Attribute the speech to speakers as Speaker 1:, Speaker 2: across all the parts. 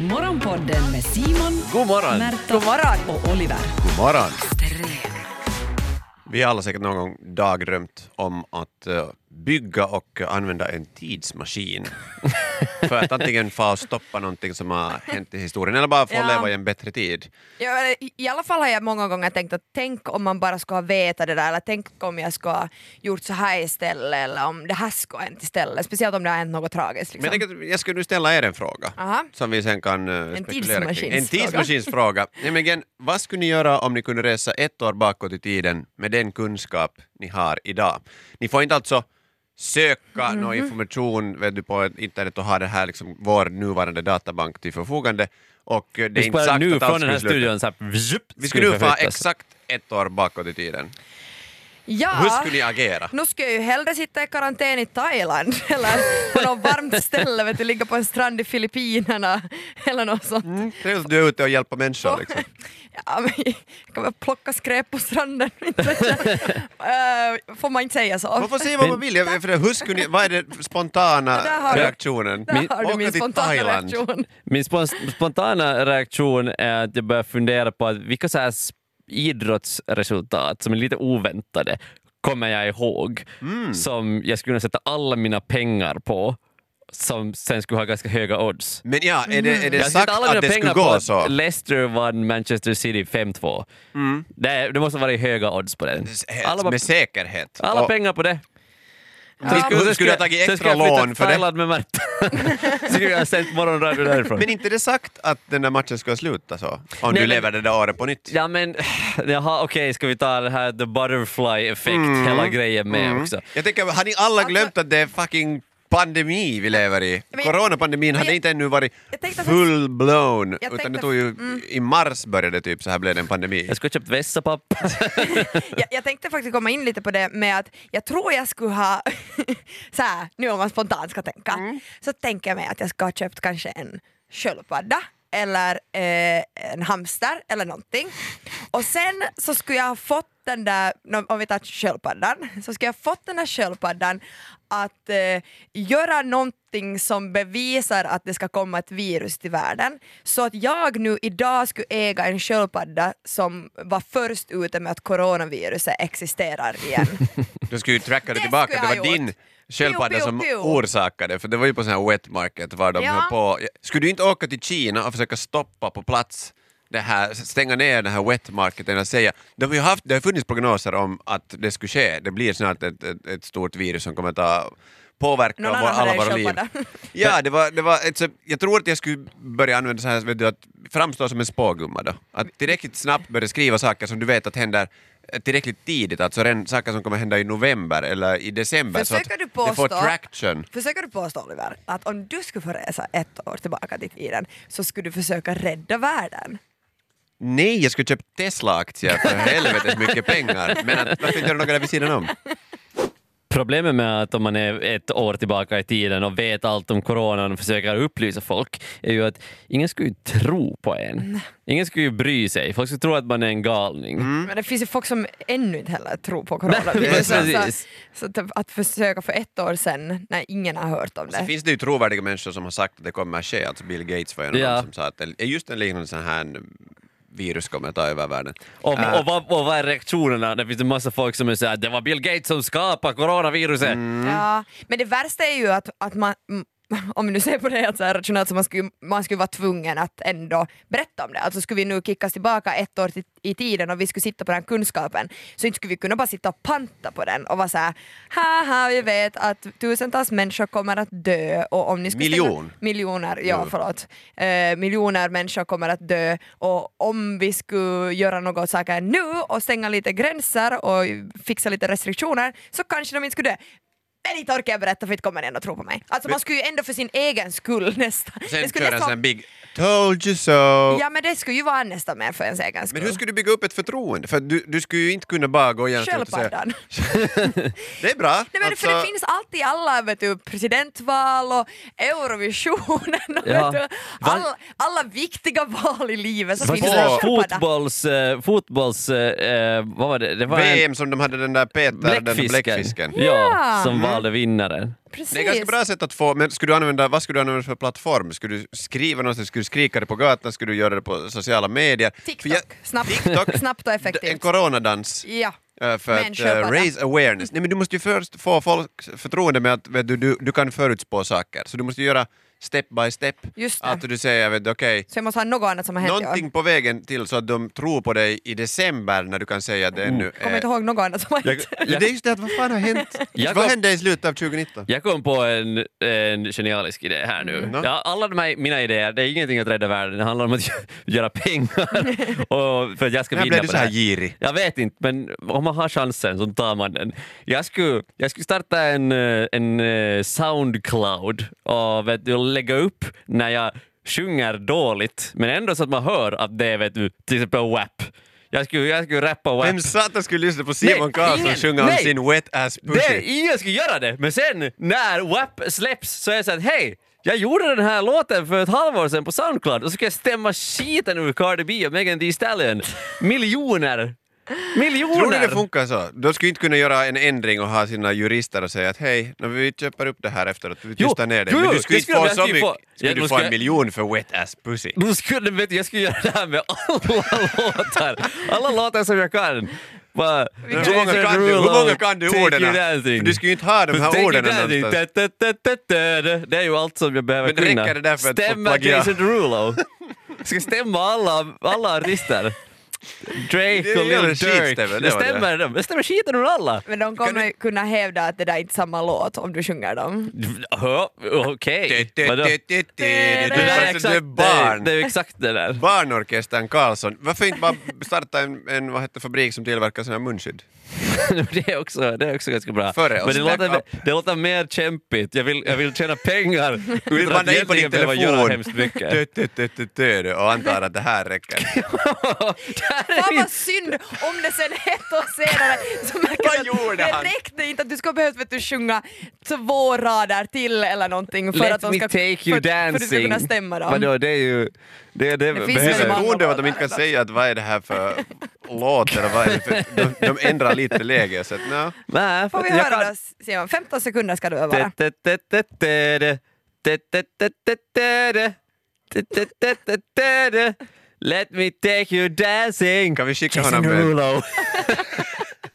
Speaker 1: Morgonpodden med Simon,
Speaker 2: God morgon!
Speaker 1: Märta
Speaker 3: God morgon.
Speaker 1: och Oliver.
Speaker 2: God morgon! Vi har alla säkert någon gång dagdrömt om att eh, bygga och använda en tidsmaskin. för att antingen få och stoppa någonting som har hänt i historien eller bara få
Speaker 3: Ja.
Speaker 2: leva i en bättre tid.
Speaker 3: Ja, I i alla fall har jag många gånger tänkt att tänk om man bara skulle ha vetat det där eller tänk om jag skulle ha gjort så här istället eller om det här skulle ha hänt istället. Speciellt om det har hänt något tragiskt.
Speaker 2: Men
Speaker 3: Liksom.
Speaker 2: jag, tänker att jag skulle nu ställa er en fråga
Speaker 3: Aha.
Speaker 2: som vi sen kan eh, spekulera kring. En
Speaker 3: tidsmaskinsfråga.
Speaker 2: tidsmaskinsfråga. Nämligen, vad skulle ni göra om ni kunde resa ett år bakåt i tiden med den kunskap ni har idag? Ni får inte alltså söka
Speaker 3: Mhm.
Speaker 2: någon information vet du, på internet och ha det här liksom, vår nuvarande databank till förfogande. Och eh, det
Speaker 4: Vi
Speaker 2: är inte
Speaker 4: spelar
Speaker 2: sagt
Speaker 4: nu
Speaker 2: att allt
Speaker 4: från den här
Speaker 2: skulle sluta.
Speaker 4: studion så här, vjup,
Speaker 2: Vi skulle nu få ha
Speaker 4: förflyttas.
Speaker 2: exakt ett år bakåt i tiden.
Speaker 3: Ja.
Speaker 2: Hur skulle ni agera?
Speaker 3: Nu skulle jag ju hellre sitta i karantän i Thailand eller på något varmt ställe, vet du, ligga på en strand i Filippinerna eller något sånt.
Speaker 2: Trevligt att du är ute och hjälper människor. Mm, Liksom.
Speaker 3: Ja, men, jag kan väl plocka skräp på stranden. inte vet jag. Eh, får man inte säga så?
Speaker 2: Man får säga vad man vill. Jag, för hur skulle ni, vad är den spontana
Speaker 3: Där har du-
Speaker 2: reaktionen?
Speaker 3: Där har du
Speaker 2: Åka
Speaker 3: min
Speaker 2: till
Speaker 3: spontana
Speaker 2: Thailand.
Speaker 3: reaktion.
Speaker 4: Min spon- spontana reaktion är att jag börjar fundera på att vilka så här s- idrottsresultat som är lite oväntade kommer jag ihåg
Speaker 2: Mm.
Speaker 4: som jag skulle kunna sätta alla mina pengar på som sen skulle ha ganska höga odds.
Speaker 2: Men ja, är det, är det
Speaker 4: Jag har sett
Speaker 2: sagt
Speaker 4: alla mina
Speaker 2: att det skulle
Speaker 4: pengar på
Speaker 2: gå
Speaker 4: att
Speaker 2: så? Mm.
Speaker 4: Leicester vann Manchester City 5-2. Det, det måste vara höga odds på den. Alla, bara-
Speaker 2: Med säkerhet.
Speaker 4: alla
Speaker 2: Och-
Speaker 4: pengar på det.
Speaker 2: Ja. Skulle- skulle jag ha tagit
Speaker 4: sen
Speaker 2: extra
Speaker 4: ska jag flytta
Speaker 2: lån
Speaker 4: till
Speaker 2: för det?
Speaker 4: Thailand med Märta. så skulle jag ha sänt morgonradio därifrån.
Speaker 2: Men inte det sagt att den där matchen ska sluta så? Om du
Speaker 4: men-
Speaker 2: lever det där året på nytt?
Speaker 4: Ja men, jaha okej, ska vi ta det här the butterfly effect,
Speaker 2: Mm.
Speaker 4: hela grejen med också.
Speaker 2: Jag tänker, har ni alla glömt att det är fucking pandemi vi lever i?
Speaker 3: Alltså- Men-
Speaker 2: Coronapandemin
Speaker 3: men
Speaker 2: hade
Speaker 3: jag-
Speaker 2: inte ännu varit
Speaker 3: jag tänkte faktiskt-
Speaker 2: full-blown,
Speaker 3: Jag
Speaker 2: utan det
Speaker 3: tänkte- mm.
Speaker 2: tog ju i mars började typ så här blev det en pandemi.
Speaker 4: Jag skulle ha köpt Vessapapp.
Speaker 3: jag, jag tänkte faktiskt komma in lite på det med att jag tror jag skulle ha, så här, nu om man spontant ska tänka, så tänker jag mig att jag ska ha köpt kanske en sköldpadda eller eh, en hamster eller någonting. Och sen så skulle jag ha fått den där, nå- om vi tar sköldpaddan, så skulle jag ha fått den där sköldpaddan att eh, göra någonting som bevisar att det ska komma ett virus till världen. Så att jag nu idag skulle äga en sköldpadda som var först ute med att coronaviruset existerar igen.
Speaker 2: Du skulle ju tracka det
Speaker 3: Det
Speaker 2: tillbaka,
Speaker 3: skulle
Speaker 2: det
Speaker 3: jag
Speaker 2: var
Speaker 3: ha
Speaker 2: din
Speaker 3: gjort.
Speaker 2: sköldpadda
Speaker 3: Pew,
Speaker 2: som
Speaker 3: pew, pew.
Speaker 2: orsakade, för det var ju på sån här wet market var de
Speaker 3: Ja.
Speaker 2: höll på. Skulle du inte åka till Kina och försöka stoppa på plats det här, stänga ner den här wet marketen och säga, de har ju haft, det har funnits prognoser om att det skulle ske, det blir snart ett, ett, ett stort virus som kommer ta påverka
Speaker 3: Någon
Speaker 2: vår,
Speaker 3: annan
Speaker 2: alla
Speaker 3: hade en
Speaker 2: våra liv.
Speaker 3: sköldpadda.
Speaker 2: Ja, det var, det var ett, så, jag tror att jag skulle börja använda så här, vet du, att framstå som en spågumma då. Att tillräckligt snabbt börja skriva saker som du vet att händer eh, tillräckligt tidigt, alltså redan saker som kommer hända i november eller i december så
Speaker 3: Försöker
Speaker 2: att
Speaker 3: du
Speaker 2: det får
Speaker 3: påstå-
Speaker 2: traction.
Speaker 3: Försöker du påstå Oliver, att om du skulle få resa ett år tillbaka i tiden så skulle du försöka rädda världen?
Speaker 2: Nej, jag skulle köpa Tesla-aktier för helvetes mycket pengar. Men att, varför inte göra något där vid sidan om?
Speaker 4: Problemet med att om man är ett år tillbaka i tiden och vet allt om coronan och försöker upplysa folk är ju att ingen skulle ju tro på en. Ingen skulle ju bry sig. Folk skulle tro att man är en galning.
Speaker 2: Mm.
Speaker 3: Men det finns ju folk som ännu inte heller tror på coronaviruset.
Speaker 4: precis.
Speaker 3: så så att, att försöka för ett år sedan när ingen har hört om
Speaker 2: Sen
Speaker 3: det.
Speaker 2: finns det ju trovärdiga människor som har sagt att det kommer att ske, alltså Bill Gates var en av
Speaker 4: Ja.
Speaker 2: dem som sa att det- just en liknande sån här virus kommer att ta över världen. Äh,
Speaker 4: Och, och, vad, och vad är reaktionerna? Det finns en massa folk som är såhär “det var Bill Gates som skapade coronaviruset”.
Speaker 2: Mm.
Speaker 3: Ja, men det värsta är ju att, att man mm, om vi nu ser på det helt så här rationellt så man skulle, man skulle vara tvungen att ändå berätta om det. Alltså skulle vi nu kickas tillbaka ett år till, i tiden och vi skulle sitta på den här kunskapen så inte skulle vi kunna bara sitta och panta på den och vara såhär haha vi vet att tusentals människor kommer att dö och om ni skulle stänga-
Speaker 2: Miljon.
Speaker 3: miljoner, ja
Speaker 2: Jo.
Speaker 3: förlåt, eh, miljoner människor kommer att dö och om vi skulle göra något saker nu och stänga lite gränser och fixa lite restriktioner så kanske de inte skulle dö. Men inte orkar jag berätta för inte kommer någon att tro på mig. Alltså man skulle ju ändå för sin egen skull nästan...
Speaker 2: Sen
Speaker 3: det skulle
Speaker 2: kör en
Speaker 3: nästan-
Speaker 2: sån här big “told you so”.
Speaker 3: Ja men det skulle ju vara nästan mer för ens egen skull.
Speaker 2: Men hur skulle du bygga upp ett förtroende? För du, du skulle ju inte kunna bara gå igenom och säga
Speaker 3: Sköldpaddan.
Speaker 2: det är bra. alltså,
Speaker 3: Nej men för det finns alltid alla vet du, presidentval och Eurovisionen och
Speaker 4: Ja.
Speaker 3: vet du,
Speaker 4: Van-
Speaker 3: alla, alla viktiga val i livet så
Speaker 4: Fast
Speaker 3: finns det
Speaker 4: det
Speaker 3: en
Speaker 4: var
Speaker 3: sköldpadda.
Speaker 4: fotbolls... eh, fotbolls eh, vad var det? Det var en
Speaker 2: VM som de hade den där Peter, den där
Speaker 4: bläckfisken.
Speaker 2: bläckfisken.
Speaker 4: Ja, som valde vinnaren.
Speaker 3: Precis.
Speaker 2: Det är ganska bra sätt att få, men skulle du använda, vad skulle du använda för plattform? Skulle du skriva någonstans, skulle du skrika det på gatan, skulle du göra det på sociala medier? För
Speaker 3: TikTok.
Speaker 2: jag-
Speaker 3: Snabbt.
Speaker 2: TikTok.
Speaker 3: Snabbt och
Speaker 2: En
Speaker 3: effektivt.
Speaker 2: coronadans.
Speaker 3: Ja.
Speaker 2: eh, För att
Speaker 3: Människor
Speaker 2: eh,
Speaker 3: bara.
Speaker 2: raise awareness. Nej, men du måste ju först få folks förtroende med att vet du, du, du kan förutspå saker. Så du måste göra step by step.
Speaker 3: Just det.
Speaker 2: Att du säger vet du, okej,
Speaker 3: Så jag måste ha något annat som har hänt i år.
Speaker 2: någonting på vägen till så att de tror på dig i december när du kan säga att det ännu
Speaker 3: Oh. Kommer inte ihåg något annat som har hänt.
Speaker 2: Det är just det att vad fan har hänt?
Speaker 4: Jag
Speaker 2: vad
Speaker 4: kom-
Speaker 2: hände i slutet av 2019?
Speaker 4: Jag kom på en, en genialisk idé här nu.
Speaker 2: Mm.
Speaker 4: Ja, alla de här, mina idéer, det är ingenting att rädda världen, det handlar om att göra pengar. och för att jag ska
Speaker 2: När blev
Speaker 4: vinna på
Speaker 2: du
Speaker 4: det
Speaker 2: så här
Speaker 4: här.
Speaker 2: girig?
Speaker 4: Jag vet inte, men om man har chansen så tar man den. Jag skulle, jag skulle starta en, eh, en eh, Soundcloud och vet du, lägga upp när jag sjunger dåligt, men ändå så att man hör att det är vet du, till exempel WAP. Jag skulle, jag skulle rappa WAP.
Speaker 2: Vem satan skulle lyssna på Simon
Speaker 4: Nej,
Speaker 2: Karlsson
Speaker 4: ingen.
Speaker 2: sjunga om
Speaker 4: Nej.
Speaker 2: sin wet ass
Speaker 4: Det,
Speaker 2: pussy?
Speaker 4: ingen skulle göra det, men sen när WAP släpps så är jag såhär hej, jag gjorde den här låten för ett halvår sedan på Soundcloud och så ska jag stämma skiten ur Cardi B och Megan Thee Stallion. Miljoner! Miljoner!
Speaker 2: Tror du det funkar så? De skulle inte kunna göra en ändring och ha sina jurister och säga att hej, när vi köper upp det här efteråt, vi
Speaker 4: Jo,
Speaker 2: tystar ner det.
Speaker 4: jo,
Speaker 2: Men du
Speaker 4: det
Speaker 2: skulle inte
Speaker 4: skulle
Speaker 2: få
Speaker 4: de- jag
Speaker 2: så
Speaker 4: skulle
Speaker 2: mycket.
Speaker 4: få-
Speaker 2: Skulle
Speaker 4: Ja,
Speaker 2: du få
Speaker 4: då skulle
Speaker 2: en
Speaker 4: jag-
Speaker 2: miljon för wet ass pussy?
Speaker 4: Då skulle, vet du, jag skulle göra det här med alla låtar. Alla låtar som jag kan. Bara,
Speaker 2: Men Hur många kan du, hur många kan du orden? För Du skulle ju inte ha de här orden någonstans.
Speaker 4: någonstans. Det är ju allt som jag behöver
Speaker 2: Men det
Speaker 4: kunna.
Speaker 2: räcker det där för att få
Speaker 4: Stämma
Speaker 2: plagiat?
Speaker 4: Jason Derulo. Ska stämma alla, alla artister.
Speaker 2: Det
Speaker 4: Drake
Speaker 2: är
Speaker 4: och Lil
Speaker 2: jävla skitstämmer,
Speaker 4: Durk.
Speaker 2: det var
Speaker 4: Det
Speaker 2: det.
Speaker 4: stämmer, dem. det stämmer skiten ur alla.
Speaker 3: Men de kommer ju kunna hävda att det där är inte samma låt om du sjunger dem.
Speaker 4: Hö, Okej.
Speaker 2: Du
Speaker 4: Vadå? Det
Speaker 2: är
Speaker 3: Det
Speaker 4: där är
Speaker 2: alltså, du är
Speaker 4: exakt det- det
Speaker 2: barn.
Speaker 4: är exakt det där.
Speaker 2: Barnorkestern Karlsson. Varför inte bara starta en, en vad heter, fabrik som tillverkar såna här munskydd?
Speaker 4: det, är också, det är också ganska bra.
Speaker 2: Före oss,
Speaker 4: Men det
Speaker 2: back
Speaker 4: låter,
Speaker 2: up.
Speaker 4: det låter mer kämpigt. Jag vill, jag vill tjäna pengar utan
Speaker 2: vandra
Speaker 4: att
Speaker 2: in på din
Speaker 4: egentligen behöva göra
Speaker 2: telefon.
Speaker 4: hemskt mycket.
Speaker 2: Tö-tö-tö-tö-tö och antar att det här räcker.
Speaker 3: Fan vad synd om det sen ett år senare så
Speaker 2: Vad
Speaker 3: märker du
Speaker 2: gjorde
Speaker 3: att det
Speaker 2: han?
Speaker 3: räckte inte att du skulle behövt vet du, sjunga två rader till eller någonting för att
Speaker 4: Let
Speaker 3: de
Speaker 4: me
Speaker 3: ska,
Speaker 4: take you
Speaker 3: för, för att du ska
Speaker 4: dancing.
Speaker 3: kunna stämma dem.
Speaker 4: Vadå, det är ju... Det, det,
Speaker 3: finns
Speaker 2: Det är
Speaker 4: behöver-
Speaker 3: väldigt många-
Speaker 2: förtroende av att de inte kan säga att vad är det här för låt eller vad är det för... De, de ändrar lite läge så att no.
Speaker 4: Nej,
Speaker 3: Får vi
Speaker 4: jag
Speaker 3: höra
Speaker 4: kan-
Speaker 3: då Simon? 15 sekunder ska du öva.
Speaker 4: Tö-tö-tö-tö-tö-tö. Tö-tö-tö-tö-tö-tö. Tö-tö-tö-tö-tö-tö. Let me take you dancing.
Speaker 2: Kan vi skicka
Speaker 4: Jason
Speaker 2: honom med...
Speaker 4: Derulo.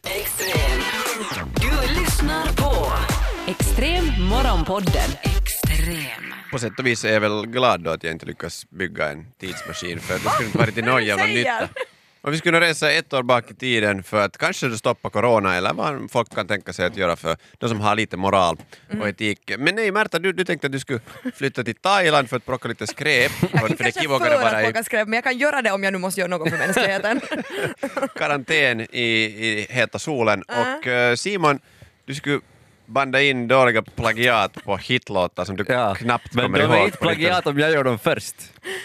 Speaker 1: Extrem. Du lyssnar på Extrem Morgonpodden. Extrem.
Speaker 2: På sätt och vis är jag väl glad då att jag inte lyckas bygga en tidsmaskin för att det skulle inte varit till någon jävla nytta. Om vi skulle resa ett år bak i tiden för att kanske stoppa corona eller vad folk kan tänka sig att göra för de som har lite moral och etik. Men nej Märta, du, du tänkte att du skulle flytta till Thailand för att plocka lite skräp.
Speaker 3: Jag
Speaker 2: För
Speaker 3: kan
Speaker 2: det
Speaker 3: kanske
Speaker 2: kivokar att
Speaker 3: föra
Speaker 2: vara i
Speaker 3: plocka skräp men jag kan göra det om jag nu måste göra något för mänskligheten.
Speaker 2: karantän i, i heta solen. Och eh, Simon, du skulle banda in dåliga plagiat på hitlåtar som du
Speaker 4: Ja,
Speaker 2: knappt
Speaker 4: Men
Speaker 2: kommer
Speaker 4: de
Speaker 2: ihåg.
Speaker 4: är inte
Speaker 2: på din-
Speaker 4: plagiat om jag gör dem först.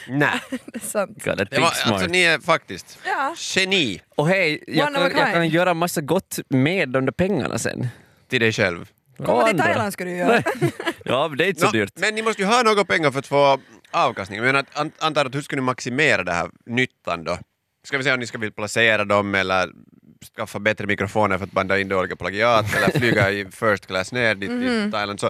Speaker 2: Nej.
Speaker 3: det är sant.
Speaker 4: God,
Speaker 2: Det var, alltså ni är faktiskt
Speaker 3: Ja.
Speaker 2: geni
Speaker 4: Och hej, jag
Speaker 3: One
Speaker 4: kan,
Speaker 3: of a
Speaker 4: jag kan
Speaker 3: kind.
Speaker 4: göra massa gott med de där pengarna sen.
Speaker 2: till dig själv.
Speaker 3: Komma
Speaker 4: Och
Speaker 3: till
Speaker 4: andra.
Speaker 3: Thailand ska du göra.
Speaker 4: Ja, men det är inte så
Speaker 2: Nå,
Speaker 4: dyrt.
Speaker 2: men ni måste ju ha några pengar för att få avkastning. Men att, an, antar att hur ska ni maximera det här nyttan då? Ska vi se om ni ska vilja placera dem eller skaffa bättre mikrofoner för att banda in dåliga plagiat eller flyga i first class ner dit till Thailand. Så,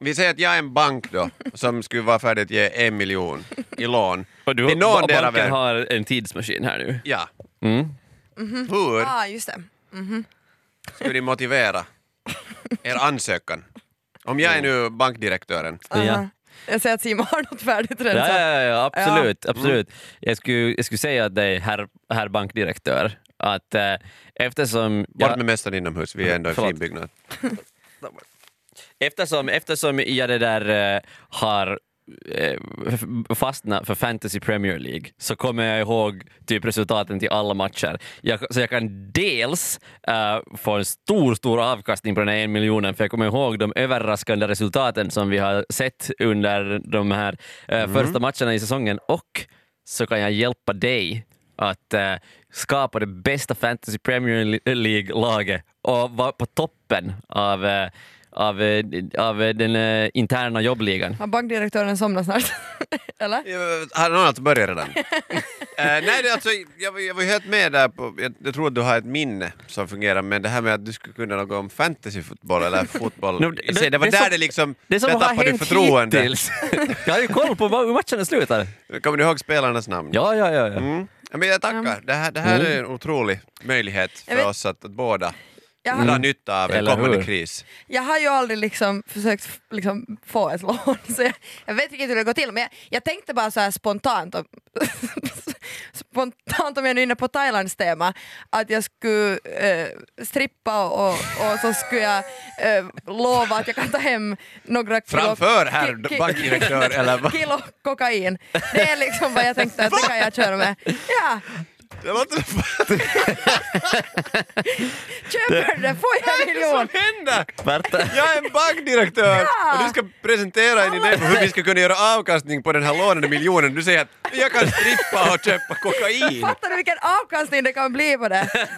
Speaker 2: vi säger att jag är en bank då som skulle vara färdig att ge en miljon i lån.
Speaker 4: Och du,
Speaker 2: till någon del av
Speaker 4: banken
Speaker 2: er.
Speaker 4: har en tidsmaskin här nu.
Speaker 2: Ja.
Speaker 4: Mm.
Speaker 2: Hur
Speaker 3: ah, just det.
Speaker 2: skulle ni motivera er ansökan? Om jag är
Speaker 4: Mm.
Speaker 2: nu bankdirektören.
Speaker 3: Aha.
Speaker 4: Ja.
Speaker 3: Jag säger att Simon har något färdigt
Speaker 4: Ja,
Speaker 3: rensat.
Speaker 4: ja, ja, absolut. absolut. Jag, skulle, jag skulle säga att det är herr, herr bankdirektör, att eh, eftersom...
Speaker 2: Bort
Speaker 4: Jag,
Speaker 2: med mästaren inomhus, vi är ändå en
Speaker 4: Förlåt.
Speaker 2: fin byggnad.
Speaker 4: eftersom, eftersom jag det där eh, har eh, f- fastnat för Fantasy Premier League så kommer jag ihåg typ resultaten till alla matcher. Jag, så jag kan dels eh, få en stor, stor avkastning på den här en miljonen för jag kommer ihåg de överraskande resultaten som vi har sett under de här eh, första matcherna i säsongen och så kan jag hjälpa dig att eh, skapa det bästa Fantasy Premier League-laget och vara på toppen av, eh, av, eh, av eh, den eh, interna jobbligan.
Speaker 3: Har bankdirektören somnat snart? Eller?
Speaker 2: Ja, Har någon alltså börjat redan? Eh, nej, det, är alltså, jag, var- jag var ju helt med där. På, jag, jag tror att du har ett minne som fungerar, men det här med att du skulle kunna något om fantasyfotboll eller fotboll
Speaker 4: No,
Speaker 2: i sig, det var
Speaker 4: är
Speaker 2: där
Speaker 4: som-
Speaker 2: det liksom...
Speaker 4: Det som
Speaker 2: där
Speaker 4: har
Speaker 2: tappade du
Speaker 4: hänt
Speaker 2: förtroende.
Speaker 4: hittills. Jag har ju koll på vad- hur matchen slutar.
Speaker 2: Kommer du ihåg spelarnas namn?
Speaker 4: Ja, Mm. ja, ja. ja.
Speaker 2: Mm. Ja, men jag tackar. Det här, det här är en otrolig möjlighet för
Speaker 3: Jag vet-
Speaker 2: oss att, att båda
Speaker 3: Jag
Speaker 2: dra
Speaker 3: har,
Speaker 4: Mm.
Speaker 2: nytta av en
Speaker 4: Eller
Speaker 2: kommande
Speaker 4: hur?
Speaker 2: kris.
Speaker 3: jag har ju aldrig liksom försökt f- liksom få ett lån, så jag, jag vet inte hur det går till. Men jag, jag tänkte bara så här spontant, om, spontant om jag nu är inne på Thailands tema, att jag skulle eh, strippa och, och så skulle jag eh, lova att jag kan ta hem några kilo...
Speaker 2: Framför herr
Speaker 3: ki- ki-
Speaker 2: bankdirektör eller vad?
Speaker 3: Kilo kokain. Det är liksom vad jag tänkte att det kan jag köra med. Ja,
Speaker 2: Det låter...
Speaker 3: köper det får jag en miljon.
Speaker 2: Vad händer?
Speaker 4: Värta.
Speaker 2: Jag är en bankdirektör
Speaker 3: Ja!
Speaker 2: och du ska presentera en idé på hur vi ska kunna göra avkastning på den här lånade miljonen. Du säger att jag kan strippa och köpa kokain.
Speaker 3: Fattar du vilken avkastning det kan bli på det?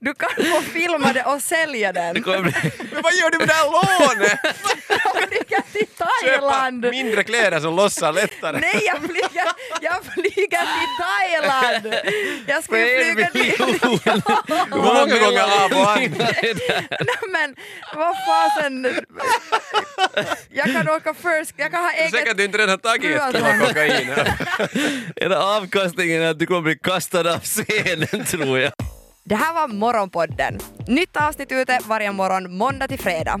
Speaker 3: du kan få filma det och sälja
Speaker 4: Det
Speaker 3: den.
Speaker 4: kommer bli...
Speaker 2: Men vad gör du med det här lånet?
Speaker 3: Jag flyger till
Speaker 2: Köpa
Speaker 3: Thailand!
Speaker 2: mindre kläder som lossar lättare.
Speaker 3: Nej, jag flyger, jag flyger till Thailand! Jag ska
Speaker 4: För
Speaker 3: ju
Speaker 4: en
Speaker 3: flyga till...
Speaker 4: miljon.
Speaker 2: Hur många gånger av och an?
Speaker 3: Nej men vad fasen! Jag kan åka first, jag kan ha
Speaker 2: Du är säker
Speaker 3: eget...
Speaker 2: att du inte redan har tagit ett kilo kokain?
Speaker 4: Är det avkastningen att du kommer bli kastad av scenen tror jag?
Speaker 3: Det här var Morgonpodden. Nytt avsnitt ute varje morgon måndag till fredag.